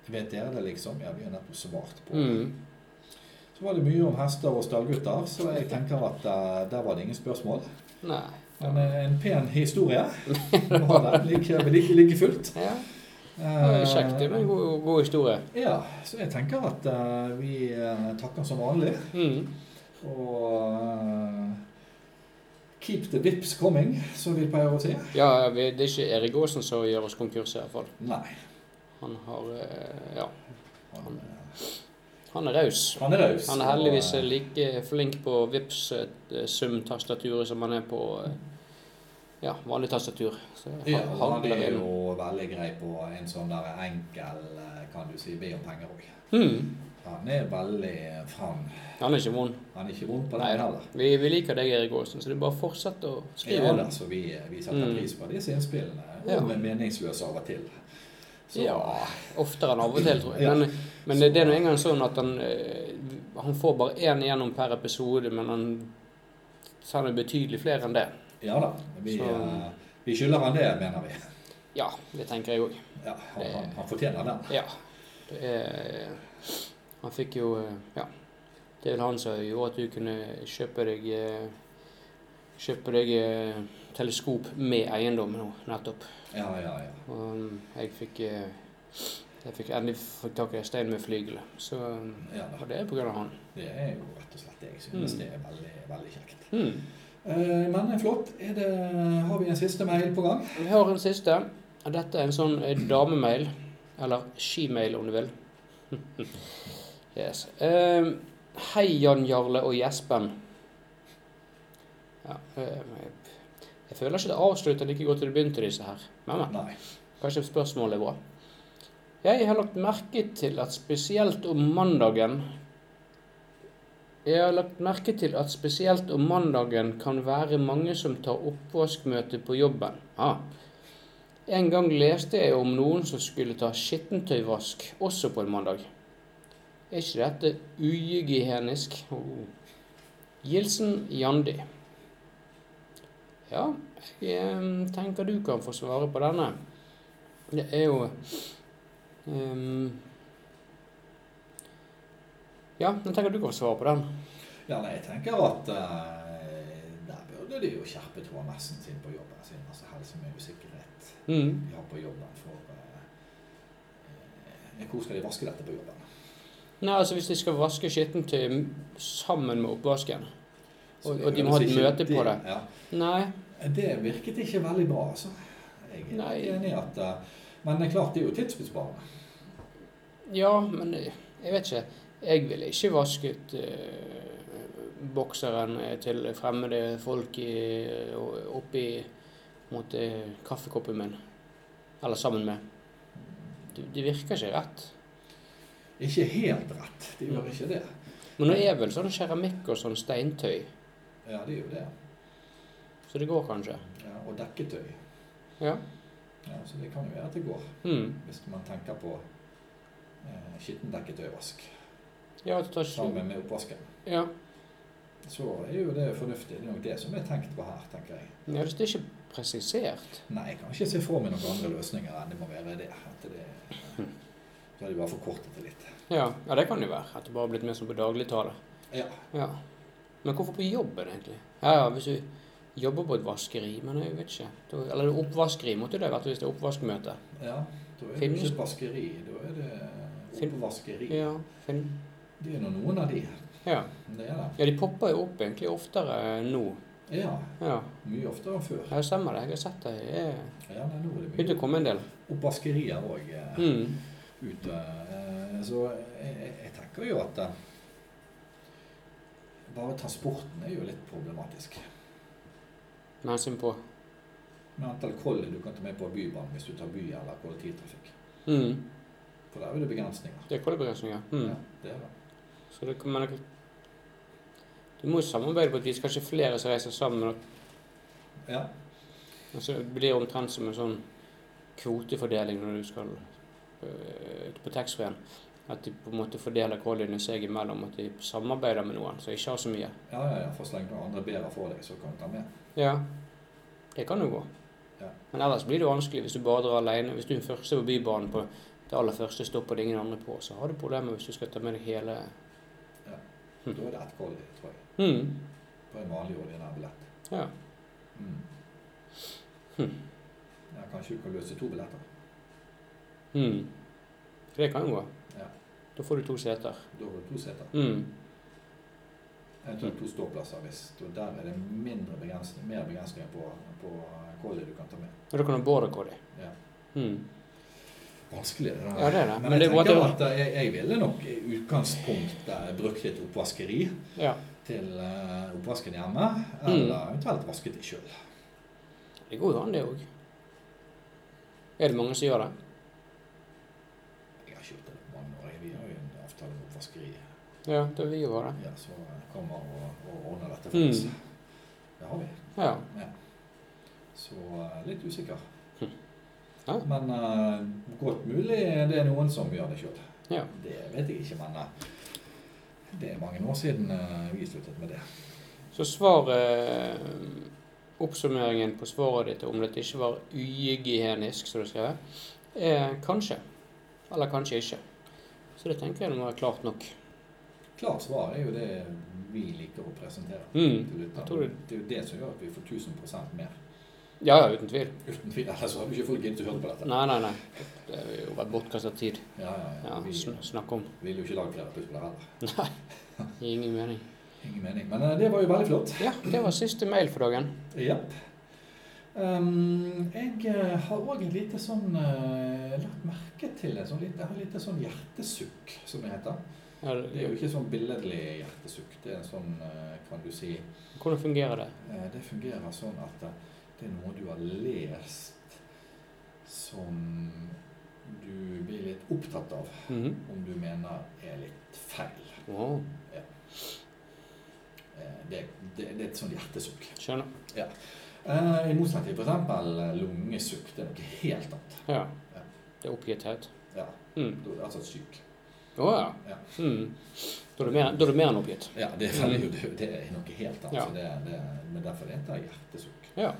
[SPEAKER 2] Vet dere det, liksom? Ja, vi har nettopp svart på det.
[SPEAKER 1] Mm.
[SPEAKER 2] Så var det mye om hester og stallgutter, så jeg tenker at eh, der var det ingen spørsmål.
[SPEAKER 1] Nei.
[SPEAKER 2] Men eh, en pen historie var det, like, like, like fullt.
[SPEAKER 1] Ja, det
[SPEAKER 2] Eh,
[SPEAKER 1] er kjekt. Det er en god, god historie.
[SPEAKER 2] Ja, så jeg tenker at eh, vi eh, takker som vanlig.
[SPEAKER 1] Mm.
[SPEAKER 2] Og eh, keep the vips coming, som vi pleier å si.
[SPEAKER 1] Ja, vi, det er ikke Erik Aasen som gjør oss konkurs, i hvert fall.
[SPEAKER 2] Nei.
[SPEAKER 1] Han har eh, Ja,
[SPEAKER 2] Han,
[SPEAKER 1] han er raus.
[SPEAKER 2] han er raus.
[SPEAKER 1] Han er heldigvis
[SPEAKER 2] og, eh,
[SPEAKER 1] like flink på vips eh, sum tastaturet som han er på eh, ja, vanlig tastatur. Så
[SPEAKER 2] Ja,
[SPEAKER 1] han-
[SPEAKER 2] han
[SPEAKER 1] han
[SPEAKER 2] er
[SPEAKER 1] er-
[SPEAKER 2] jo veldig grei på en sånn der enkel, eh, kan du si, be om penger òg.
[SPEAKER 1] Mm.
[SPEAKER 2] Han er veldig fram.
[SPEAKER 1] Han er ikke vond.
[SPEAKER 2] Han er ikke vond på
[SPEAKER 1] Nei.
[SPEAKER 2] den heller.
[SPEAKER 1] Vi, vi liker deg, Erik Aasen, så det er bare å fortsette å skrive.
[SPEAKER 2] Ja,
[SPEAKER 1] inn.
[SPEAKER 2] da, så vi, eh, vi setter
[SPEAKER 1] Mm.
[SPEAKER 2] pris på disse innspillene, og
[SPEAKER 1] Ja.
[SPEAKER 2] med meningsløse av og til. Så,
[SPEAKER 1] Ja, oftere enn av og til, tror jeg.
[SPEAKER 2] Ja.
[SPEAKER 1] Men, men det, det er nå engang sånn at han, eh, han får bare én igjennom per episode, men han sender betydelig flere enn det.
[SPEAKER 2] ja da. Vi,
[SPEAKER 1] Så-
[SPEAKER 2] eh, vi skylder han det, mener vi.
[SPEAKER 1] Ja, det tenker jeg òg.
[SPEAKER 2] Ja, han,
[SPEAKER 1] Det-
[SPEAKER 2] han, han fortjener den.
[SPEAKER 1] Ja. Det er, han fikk jo eh, Ja. Det er vel han som gjorde at du kunne kjøpe deg eh, Kjøpe deg eh, teleskop med eiendom nå, nettopp.
[SPEAKER 2] Ja, ja, ja.
[SPEAKER 1] Og um, jeg fikk eh, Jeg fikk endelig fått tak i en stein med flygel. Så um,
[SPEAKER 2] ja
[SPEAKER 1] Og
[SPEAKER 2] da.
[SPEAKER 1] det er på grunn av han.
[SPEAKER 2] Det er jo rett og slett det jeg synes.
[SPEAKER 1] Mm.
[SPEAKER 2] Det er veldig, veldig kjekt.
[SPEAKER 1] Hmm.
[SPEAKER 2] Eh, men flott. Er det, har vi en siste mail på gang?
[SPEAKER 1] Vi har en siste. Dette er en sånn eh, damemail. Eller skimail, om du vil. yes. Eh, hei, Jan Jarle og Jespen. Ja, eh, jeg- jeg føler ikke det avslutter like godt som det begynte, disse her. Men, men.
[SPEAKER 2] Nei.
[SPEAKER 1] Kanskje spørsmålet er bra. Jeg har lagt merke til at spesielt om mandagen Jeg har lagt merke til at spesielt om mandagen kan være mange som tar oppvaskmøte på jobben. Ah. En gang leste jeg om noen som skulle ta skittentøyvask også på en mandag. Er ikke dette uhygienisk? Oh. Gilsen Jandi. Ja, jeg eh, tenker du kan få svare på denne. Det er jo ehm, Ja, jeg tenker du kan svare på den.
[SPEAKER 2] Ja, nei, jeg tenker at eh, der burde de jo skjerpe trådmessen sin på jobben sin. Altså helse, miljø, sikkerhet.
[SPEAKER 1] Mm.
[SPEAKER 2] De har på jobben for eh, eh, Hvor skal de vaske dette på jobben?
[SPEAKER 1] Nei, altså Hvis de skal vaske skittentøy sammen med oppvasken
[SPEAKER 2] Så
[SPEAKER 1] Og-
[SPEAKER 2] det
[SPEAKER 1] og de må
[SPEAKER 2] høres
[SPEAKER 1] ha et
[SPEAKER 2] ikke-
[SPEAKER 1] møte på det.
[SPEAKER 2] Ja.
[SPEAKER 1] Nei.
[SPEAKER 2] Det virket ikke veldig bra, altså. Jeg er
[SPEAKER 1] Nei.
[SPEAKER 2] helt enig i at eh, Men det er klart, det er jo tidsbesparende.
[SPEAKER 1] Ja, men jeg vet ikke. Jeg ville ikke vasket eh, bokseren til fremmede folk i, eh, oppi mot eh, kaffekoppen min. Eller sammen med. Det, det virker ikke rett.
[SPEAKER 2] Ikke helt rett. De gjør ikke det.
[SPEAKER 1] Men nå er vel sånn keramikk og sånn steintøy,
[SPEAKER 2] Ja, de gjør det.
[SPEAKER 1] så det går kanskje?
[SPEAKER 2] Ja, og dekketøy.
[SPEAKER 1] Ja.
[SPEAKER 2] Ja, så det kan jo være at det går,
[SPEAKER 1] Mm.
[SPEAKER 2] hvis man tenker på eh, skittendekketøyvask
[SPEAKER 1] Ja, at du tar ikke
[SPEAKER 2] sammen med oppvasken.
[SPEAKER 1] Sånn, ja.
[SPEAKER 2] Så er jo det fornuftig. Det er nok det som er tenkt på her, tenker jeg.
[SPEAKER 1] ja, hvis det er ikke presisert.
[SPEAKER 2] Nei, jeg kan ikke se for meg noen andre løsninger enn det må være det. At det så har de bare forkortet det litt.
[SPEAKER 1] Ja, ja det kan det jo være. At det bare har blitt mer som på dagligtale.
[SPEAKER 2] Ja,
[SPEAKER 1] Ja. Men hvorfor på jobben, egentlig? Ja, ja, hvis du jobber på et vaskeri, men jeg vet ikke. Da- Eller oppvaskeri måtte det vært hvis det er oppvaskmøte.
[SPEAKER 2] ja. Da er det
[SPEAKER 1] Finnes-
[SPEAKER 2] ikke et vaskeri, da er det
[SPEAKER 1] Fin-
[SPEAKER 2] oppvaskeri.
[SPEAKER 1] Ja, fin.
[SPEAKER 2] Det er nå noen av de.
[SPEAKER 1] Ja.
[SPEAKER 2] Det er det.
[SPEAKER 1] ja, de popper jo opp egentlig oftere nå.
[SPEAKER 2] Ja,
[SPEAKER 1] Ja,
[SPEAKER 2] mye oftere enn før.
[SPEAKER 1] ja det stemmer det. Jeg har sett det. Det er-
[SPEAKER 2] Ja, nei, nå er det
[SPEAKER 1] begynte å
[SPEAKER 2] mye
[SPEAKER 1] komme en del.
[SPEAKER 2] oppvaskerier òg
[SPEAKER 1] Mm.
[SPEAKER 2] ute. Eh, Så jeg, jeg- jeg tenker jo at eh, bare transporten er jo litt problematisk.
[SPEAKER 1] Med hensyn på
[SPEAKER 2] Med antall koller du kan ta med på bybanen hvis du tar by eller kollektivtrafikk.
[SPEAKER 1] mm.
[SPEAKER 2] For der er det begrensninger.
[SPEAKER 1] Det er kollektivbegrensninger. Mm.
[SPEAKER 2] Ja, det er det.
[SPEAKER 1] Så det kan man ikke Du må jo samarbeide på et vis. Kanskje flere som reiser sammen. og-
[SPEAKER 2] Ja.
[SPEAKER 1] og så blir det omtrent som en sånn kvotefordeling når du skal øh, på taxfree-en. At de på en måte fordeler kolliene seg imellom. At de samarbeider med noen som ikke har så mye.
[SPEAKER 2] Ja, ja, ja. For så lenge noen andre bedre for deg, så kan du ta med.
[SPEAKER 1] Ja, det kan jo gå.
[SPEAKER 2] Ja.
[SPEAKER 1] Men ellers blir det vanskelig hvis du bare drar alene. Hvis du er den første på Bybanen på det aller første stoppet og det er ingen andre på, så har du problemer hvis du skal ta med deg hele
[SPEAKER 2] Da er det ett koll, tror jeg.
[SPEAKER 1] mm.
[SPEAKER 2] På en vanlig ordinær billett.
[SPEAKER 1] Ja.
[SPEAKER 2] Mm.
[SPEAKER 1] Hm.
[SPEAKER 2] Ja, kanskje du kan løse to billetter.
[SPEAKER 1] Mm. For det kan jo gå.
[SPEAKER 2] Ja.
[SPEAKER 1] Da får du to seter.
[SPEAKER 2] Da har du to seter.
[SPEAKER 1] Mm.
[SPEAKER 2] Eventuelt to ståplasser hvis og der er det mindre begrensning, mer begrensninger på, på kollet du kan ta med.
[SPEAKER 1] Og da kan du border collie.
[SPEAKER 2] Ja.
[SPEAKER 1] Mm.
[SPEAKER 2] Vanskelig, det der.
[SPEAKER 1] Ja, det er det.
[SPEAKER 2] Men,
[SPEAKER 1] Men
[SPEAKER 2] jeg
[SPEAKER 1] det er
[SPEAKER 2] tenker
[SPEAKER 1] bare
[SPEAKER 2] at eh, jeg, jeg ville nok i utgangspunktet brukt litt oppvaskeri
[SPEAKER 1] Ja.
[SPEAKER 2] til eh, oppvasken hjemme,
[SPEAKER 1] Mm.
[SPEAKER 2] eller eventuelt vasket det sjøl.
[SPEAKER 1] Det går jo an, det òg. Er det mange som gjør det?
[SPEAKER 2] Jeg har ikke gjort det på mange år. Vi har jo en avtale med oppvaskeriet
[SPEAKER 1] Ja, da vil jo ha det.
[SPEAKER 2] ja, som kommer og, og ordner dette
[SPEAKER 1] Mm.
[SPEAKER 2] for oss. Det har vi.
[SPEAKER 1] Ja.
[SPEAKER 2] Ja. Så eh, litt usikker.
[SPEAKER 1] Hm. Ja.
[SPEAKER 2] Men eh, godt mulig det er noen som gjør det sjøl.
[SPEAKER 1] Ja.
[SPEAKER 2] Det vet jeg ikke, men eh, det er mange år siden eh, vi sluttet med det.
[SPEAKER 1] Så svaret eh, Oppsummeringen på svaret ditt om dette ikke var uhygienisk, som du skrev, er kanskje. Eller kanskje ikke. Så det tenker jeg det må være klart nok.
[SPEAKER 2] Klart svar er jo det vi liker å presentere.
[SPEAKER 1] Mm.
[SPEAKER 2] til lytterne.
[SPEAKER 1] jeg tror det.
[SPEAKER 2] Det er jo det som gjør at vi får 1000 mer.
[SPEAKER 1] Ja, ja, uten tvil.
[SPEAKER 2] Uten tvil, ellers hadde ikke folk giddet å høre på dette.
[SPEAKER 1] Nei, nei, nei. Det er jo vært bortkastet tid.
[SPEAKER 2] Ja, ja, ja.
[SPEAKER 1] Ja,
[SPEAKER 2] Vi
[SPEAKER 1] sn snakke om.
[SPEAKER 2] vil jo ikke lage flere pusler heller.
[SPEAKER 1] Gir ingen mening.
[SPEAKER 2] Ingen mening. Men eh, det var jo veldig flott.
[SPEAKER 1] Ja, det var siste mail for dagen.
[SPEAKER 2] Jepp. Ehm, jeg eh, har òg et lite sånn eh, lagt merke til en sånn lite, jeg har et lite sånn hjertesukk, som det heter.
[SPEAKER 1] Ja,
[SPEAKER 2] Det er jo ikke sånn billedlig hjertesukk. Det er en sånn, eh, kan du si
[SPEAKER 1] Hvordan fungerer det?
[SPEAKER 2] eh, Det fungerer sånn at eh, det er noe du har lest som du blir litt opptatt av,
[SPEAKER 1] Mhm.
[SPEAKER 2] om du mener er litt feil.
[SPEAKER 1] Wow,
[SPEAKER 2] Eh, Det, det, det er et sånn hjertesukk.
[SPEAKER 1] skjønner.
[SPEAKER 2] Eh, I motsetning til f.eks. lungesukk. Det er noe helt annet.
[SPEAKER 1] Ja. Det er oppgitthet.
[SPEAKER 2] Ja,
[SPEAKER 1] Mm.
[SPEAKER 2] da- altså syk.
[SPEAKER 1] Å ja.
[SPEAKER 2] Ja.
[SPEAKER 1] Mm. Da er du mer- da er du mer enn oppgitt.
[SPEAKER 2] Ja, det er, veldig, det- det er noe helt annet.
[SPEAKER 1] Ja.
[SPEAKER 2] så Det, det, men derfor heter det hjertesukk.
[SPEAKER 1] Ja.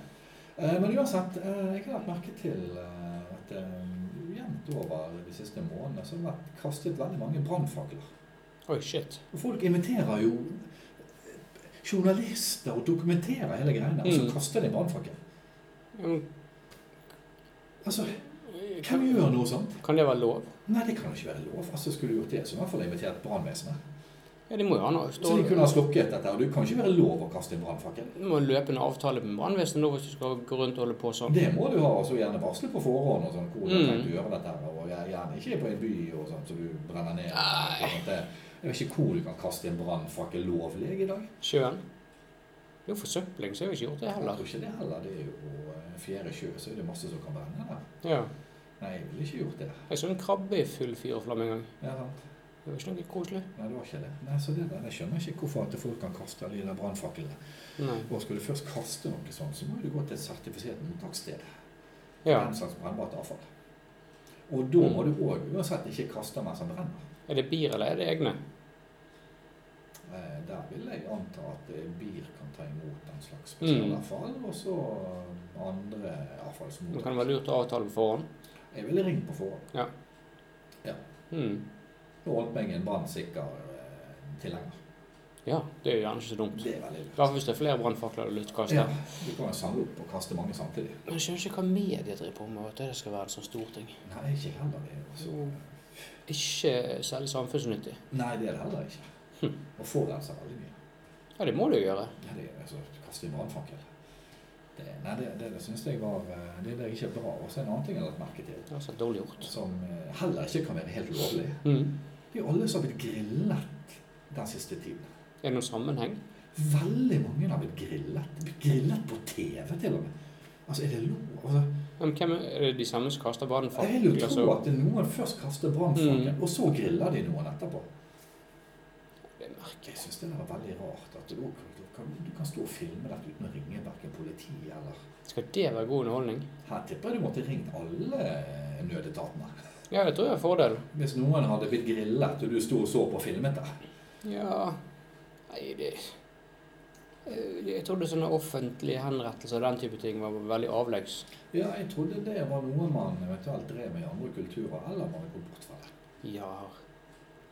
[SPEAKER 2] Eh, Men uansett, eh, jeg har lagt merke til eh, at eh, jevnt over de siste månedene så har det vært kastet veldig mange brannfakler.
[SPEAKER 1] Oi, shit.
[SPEAKER 2] Og Folk inviterer jo eh, journalister og dokumenterer hele greiene, og så
[SPEAKER 1] Mm.
[SPEAKER 2] kaster de brannfakkel.
[SPEAKER 1] Mm,
[SPEAKER 2] Altså, hvem
[SPEAKER 1] Kan,
[SPEAKER 2] gjør noe sånt?
[SPEAKER 1] eh, kan det være lov?
[SPEAKER 2] Nei, det kan jo ikke være lov. Altså, skulle du gjort det, så i hvert fall invitert brannvesenet.
[SPEAKER 1] Ja, de må jo ha noe.
[SPEAKER 2] Så
[SPEAKER 1] Stå,
[SPEAKER 2] de kunne ha slukket dette. Og det kan ikke være lov å kaste en brannfakkel.
[SPEAKER 1] du må løpe en avtale med brannvesenet nå hvis du skal gå rundt og holde på sånn.
[SPEAKER 2] Det må du ha, og så gjerne varsle på forhånd og sånn, hvor du har
[SPEAKER 1] Mm.
[SPEAKER 2] tenkt å gjøre dette. her, Og gjer- gjerne ikke på en by og sånn, så du brenner ned.
[SPEAKER 1] Nei.
[SPEAKER 2] Sånn at det, jeg vet ikke hvor du kan kaste en brannfakkel lovlig i dag.
[SPEAKER 1] Sjøen. Det er jo forsøpling, så jeg har ikke gjort det
[SPEAKER 2] Jeg
[SPEAKER 1] heller.
[SPEAKER 2] tror ikke det heller. Det er jo eh, fjerde sjø, så er det masse som kan brenne der.
[SPEAKER 1] Ja.
[SPEAKER 2] Nei, jeg ville ikke gjort det.
[SPEAKER 1] Jeg så en krabbe i full fyr og flamme en gang.
[SPEAKER 2] Ja, sant.
[SPEAKER 1] Det var ikke noe koselig.
[SPEAKER 2] Nei, det var ikke det. Nei, så det der, Jeg skjønner ikke hvorfor at folk kan kaste alle de der brannfaklene.
[SPEAKER 1] Nei.
[SPEAKER 2] Og skal du først kaste noe sånt, så må du gå til et sertifisert mottakssted.
[SPEAKER 1] Ja.
[SPEAKER 2] Den slags brennbart avfall. Og da må
[SPEAKER 1] Mm.
[SPEAKER 2] du òg uansett ikke kaste mens den brenner.
[SPEAKER 1] Er det bier eller er det egne?
[SPEAKER 2] Eh, Der vil jeg anta at eh, BIR kan ta imot den
[SPEAKER 1] Mm.
[SPEAKER 2] slags spesialavfall, og så andre
[SPEAKER 1] Det kan være
[SPEAKER 2] avfallsmottak.
[SPEAKER 1] lurt å avtale på forhånd.
[SPEAKER 2] Jeg ville ringt på forhånd.
[SPEAKER 1] Hmm.
[SPEAKER 2] Nå holdt meg en brannsikker eh, tilhenger.
[SPEAKER 1] Ja, det er jo gjerne ikke så dumt.
[SPEAKER 2] Det er veldig
[SPEAKER 1] I
[SPEAKER 2] lurt.
[SPEAKER 1] hvert fall hvis det er flere brannfakler du lyttkast
[SPEAKER 2] Ja,
[SPEAKER 1] der.
[SPEAKER 2] du kan jo samle opp og kaste mange samtidig.
[SPEAKER 1] Men jeg skjønner ikke hva media driver på med, at det skal være en sånn stor ting.
[SPEAKER 2] Nei, ikke heller det. Altså.
[SPEAKER 1] Ikke særlig samfunnsnyttig.
[SPEAKER 2] Nei, det er det heller ikke.
[SPEAKER 1] Hm.
[SPEAKER 2] Og forurenser veldig mye.
[SPEAKER 1] Ja, det må du jo gjøre.
[SPEAKER 2] Nei, det er altså, kaste en brannfakkel. Det, nei, det, det, det syns jeg var eh, Det det er ikke bra. Og så en annen ting jeg har lagt merke til,
[SPEAKER 1] Det er så dårlig gjort.
[SPEAKER 2] som eh, heller ikke kan være helt lovlig.
[SPEAKER 1] Hmm.
[SPEAKER 2] Det er jo alle som har blitt grillet den siste tiden.
[SPEAKER 1] Er det noen sammenheng?
[SPEAKER 2] Veldig mange har blitt grillet. Blitt Grillet på TV, til og med. Altså, er det lov? Altså,
[SPEAKER 1] Men hvem er er det de samme som kaster
[SPEAKER 2] Jeg vil jo
[SPEAKER 1] brannfakler?
[SPEAKER 2] tro
[SPEAKER 1] så- Mm.
[SPEAKER 2] at noen først kaster brannfakkelen, og så griller de noen etterpå.
[SPEAKER 1] Det er merkelig.
[SPEAKER 2] Jeg syns det der er veldig rart at du, du, kan, du kan stå og filme dette uten å ringe verken politi eller
[SPEAKER 1] Skal det være god underholdning?
[SPEAKER 2] Her tipper jeg du måtte ringt alle nødetatene.
[SPEAKER 1] Ja, det tror jeg er fordel.
[SPEAKER 2] Hvis noen hadde blitt grillet, og du sto og så på og filmet det.
[SPEAKER 1] Ja Nei, det Eh, Jeg trodde sånne offentlige henrettelser og den type ting var veldig avleggs.
[SPEAKER 2] Ja, jeg trodde det var noe man eventuelt drev med i andre kulturer, eller man hadde gått bort fra det.
[SPEAKER 1] Ja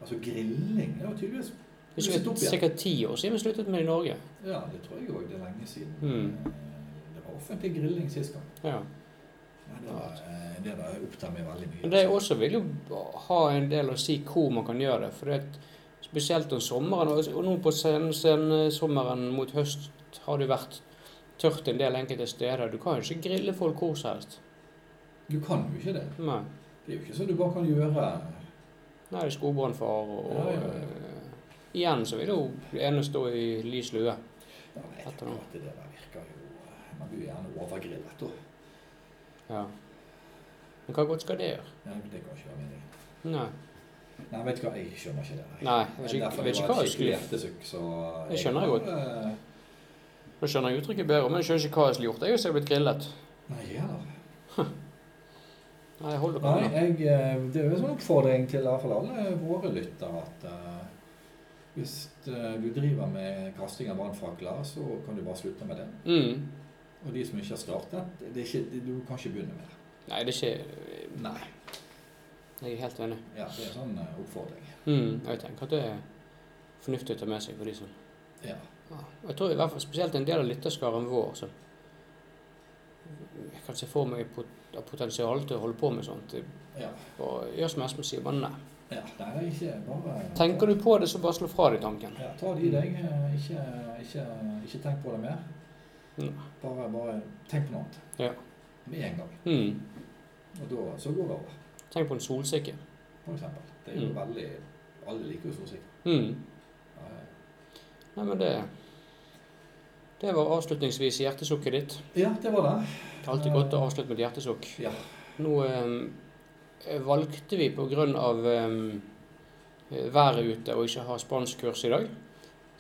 [SPEAKER 2] Altså grilling det var tydeligvis
[SPEAKER 1] Det er sikkert, sikkert ti år siden vi sluttet med det i Norge.
[SPEAKER 2] Ja, det tror jeg òg. Det er lenge siden.
[SPEAKER 1] Mm.
[SPEAKER 2] eh, Det var offentlig grilling sist gang.
[SPEAKER 1] Ja.
[SPEAKER 2] Nei, det var, eh, det var jeg opptatt med veldig mye.
[SPEAKER 1] Men det også vil jo ha en del å si hvor man kan gjøre det. For det at spesielt om sommeren, og- og nå på sen- sensommeren mot høst har det jo vært tørt en del enkelte steder. Du kan jo ikke grille folk hvor som helst.
[SPEAKER 2] Du kan jo ikke det.
[SPEAKER 1] Nei.
[SPEAKER 2] Det er jo ikke sånn du bare kan gjøre
[SPEAKER 1] Nei, det er skogbrannfare og, og
[SPEAKER 2] Ja, ja, ja.
[SPEAKER 1] eh, Igjen så vil jo det ene stå i lys lue.
[SPEAKER 2] Ja, men jeg
[SPEAKER 1] Etter
[SPEAKER 2] tenker
[SPEAKER 1] noe.
[SPEAKER 2] at det der virker jo eh, Man blir jo gjerne overgrillet, da.
[SPEAKER 1] Ja. Men hva godt skal det gjøre?
[SPEAKER 2] Ja, men det kan ikke være meningen.
[SPEAKER 1] Nei.
[SPEAKER 2] Nei, vet du hva, jeg skjønner ikke det. der.
[SPEAKER 1] Nei, jeg vet
[SPEAKER 2] Det er
[SPEAKER 1] ikke,
[SPEAKER 2] derfor
[SPEAKER 1] jeg vet
[SPEAKER 2] det
[SPEAKER 1] ikke
[SPEAKER 2] var
[SPEAKER 1] hva
[SPEAKER 2] et
[SPEAKER 1] jeg skulle
[SPEAKER 2] skikkelig hjertesukk, så
[SPEAKER 1] Det skjønner jeg
[SPEAKER 2] kan, eh,
[SPEAKER 1] Nå skjønner jeg uttrykket bedre, men jeg skjønner ikke hva jeg skulle gjort. Jeg er jo sikkert blitt grillet.
[SPEAKER 2] Nei, ikke heller.
[SPEAKER 1] Nei, hold dere
[SPEAKER 2] Nei,
[SPEAKER 1] unna.
[SPEAKER 2] jeg, eh, det er jo en sånn oppfordring til i hvert fall alle våre lyttere at eh, hvis eh, du driver med kasting av brannfakler, så kan du bare slutte med det.
[SPEAKER 1] Mm.
[SPEAKER 2] Og de som ikke har startet, det er ikke, du kan ikke begynne med det.
[SPEAKER 1] Nei, det er ikke
[SPEAKER 2] Nei.
[SPEAKER 1] Jeg er helt enig.
[SPEAKER 2] Ja, det er en sånn eh, oppfordring.
[SPEAKER 1] Mm. Jeg tenker at det er fornuftig å ta med seg for de som
[SPEAKER 2] Ja.
[SPEAKER 1] ja. Jeg tror i hvert fall spesielt en del av lytterskaren vår som jeg kan se for meg pot- har potensial til å holde på med sånt.
[SPEAKER 2] Ja.
[SPEAKER 1] Og gjør som Espen sier, bare nei.
[SPEAKER 2] ja. Nei, det er ikke bare
[SPEAKER 1] Tenker du på det, så bare slå fra deg tanken.
[SPEAKER 2] Ja, ta det i deg. eh, Ikke, ikke, ikke tenk på det mer.
[SPEAKER 1] Mm.
[SPEAKER 2] Bare, bare tenk på noe annet.
[SPEAKER 1] Ja.
[SPEAKER 2] Med en gang.
[SPEAKER 1] Mm.
[SPEAKER 2] Og da så går det over,
[SPEAKER 1] Tenk på en solsikke.
[SPEAKER 2] for eksempel. Det er jo
[SPEAKER 1] Mm.
[SPEAKER 2] veldig Alle liker jo solsikker.
[SPEAKER 1] Mm.
[SPEAKER 2] Ja, ja.
[SPEAKER 1] Nei, men det Det var avslutningsvis hjertesukket ditt.
[SPEAKER 2] Ja, det var det.
[SPEAKER 1] Det er alltid godt å avslutte med et hjertesukk.
[SPEAKER 2] Ja.
[SPEAKER 1] Nå eh, valgte vi på grunn av eh, været ute å ikke ha spanskkurs i dag.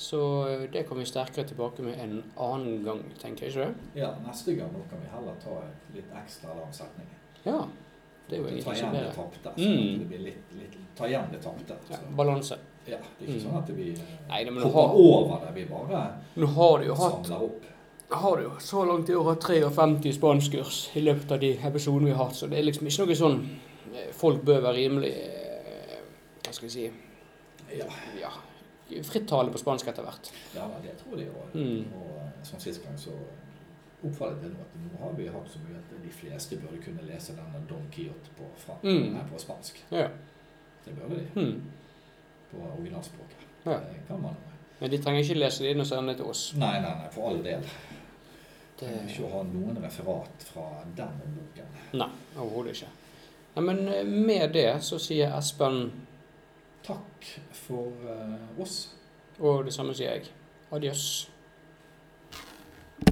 [SPEAKER 1] Så eh, det kommer vi sterkere tilbake med en annen gang, tenker jeg ikke det?
[SPEAKER 2] Ja, neste gang nå kan vi heller ta en litt ekstra lang setning.
[SPEAKER 1] Ja. Det er jo
[SPEAKER 2] Ta
[SPEAKER 1] ingenting
[SPEAKER 2] igjen
[SPEAKER 1] som
[SPEAKER 2] det
[SPEAKER 1] er
[SPEAKER 2] tapte. sånn
[SPEAKER 1] Mm.
[SPEAKER 2] at det blir litt, litt, ta igjen det tapte.
[SPEAKER 1] ja,
[SPEAKER 2] Så,
[SPEAKER 1] Balanse.
[SPEAKER 2] ja, det er ikke
[SPEAKER 1] Mm.
[SPEAKER 2] sånn at vi
[SPEAKER 1] Nei, men du
[SPEAKER 2] hopper
[SPEAKER 1] har-
[SPEAKER 2] over det. Vi bare
[SPEAKER 1] Nå har du jo hatt
[SPEAKER 2] samler opp.
[SPEAKER 1] har du jo så langt i år hatt 53 spanskkurs i løpet av de episodene vi har hatt, så det er liksom ikke noe sånn eh, Folk bør være rimelig eh, Hva skal jeg si
[SPEAKER 2] Ja,
[SPEAKER 1] ja, fritt tale på spansk etter hvert.
[SPEAKER 2] ja men det tror jeg òg.
[SPEAKER 1] Mm.
[SPEAKER 2] Og eh, som sist gang så oppfattet jeg nå at nå har vi hatt så mye at de fleste burde kunne lese denne Don Quijote på, fra,
[SPEAKER 1] Mm.
[SPEAKER 2] nei, på spansk.
[SPEAKER 1] Ja.
[SPEAKER 2] Det burde de.
[SPEAKER 1] Hmm.
[SPEAKER 2] På originalspråket.
[SPEAKER 1] Ja.
[SPEAKER 2] Det kan man.
[SPEAKER 1] Men de trenger ikke lese det inn og sende det til oss.
[SPEAKER 2] Nei, nei, nei, for all del.
[SPEAKER 1] Det,
[SPEAKER 2] Jeg vil ikke ha noen referat fra den boken.
[SPEAKER 1] nei, overhodet ikke. Nei, men eh, med det så sier Espen,
[SPEAKER 2] Takk for eh, oss.
[SPEAKER 1] og det samme sier jeg, adjøs.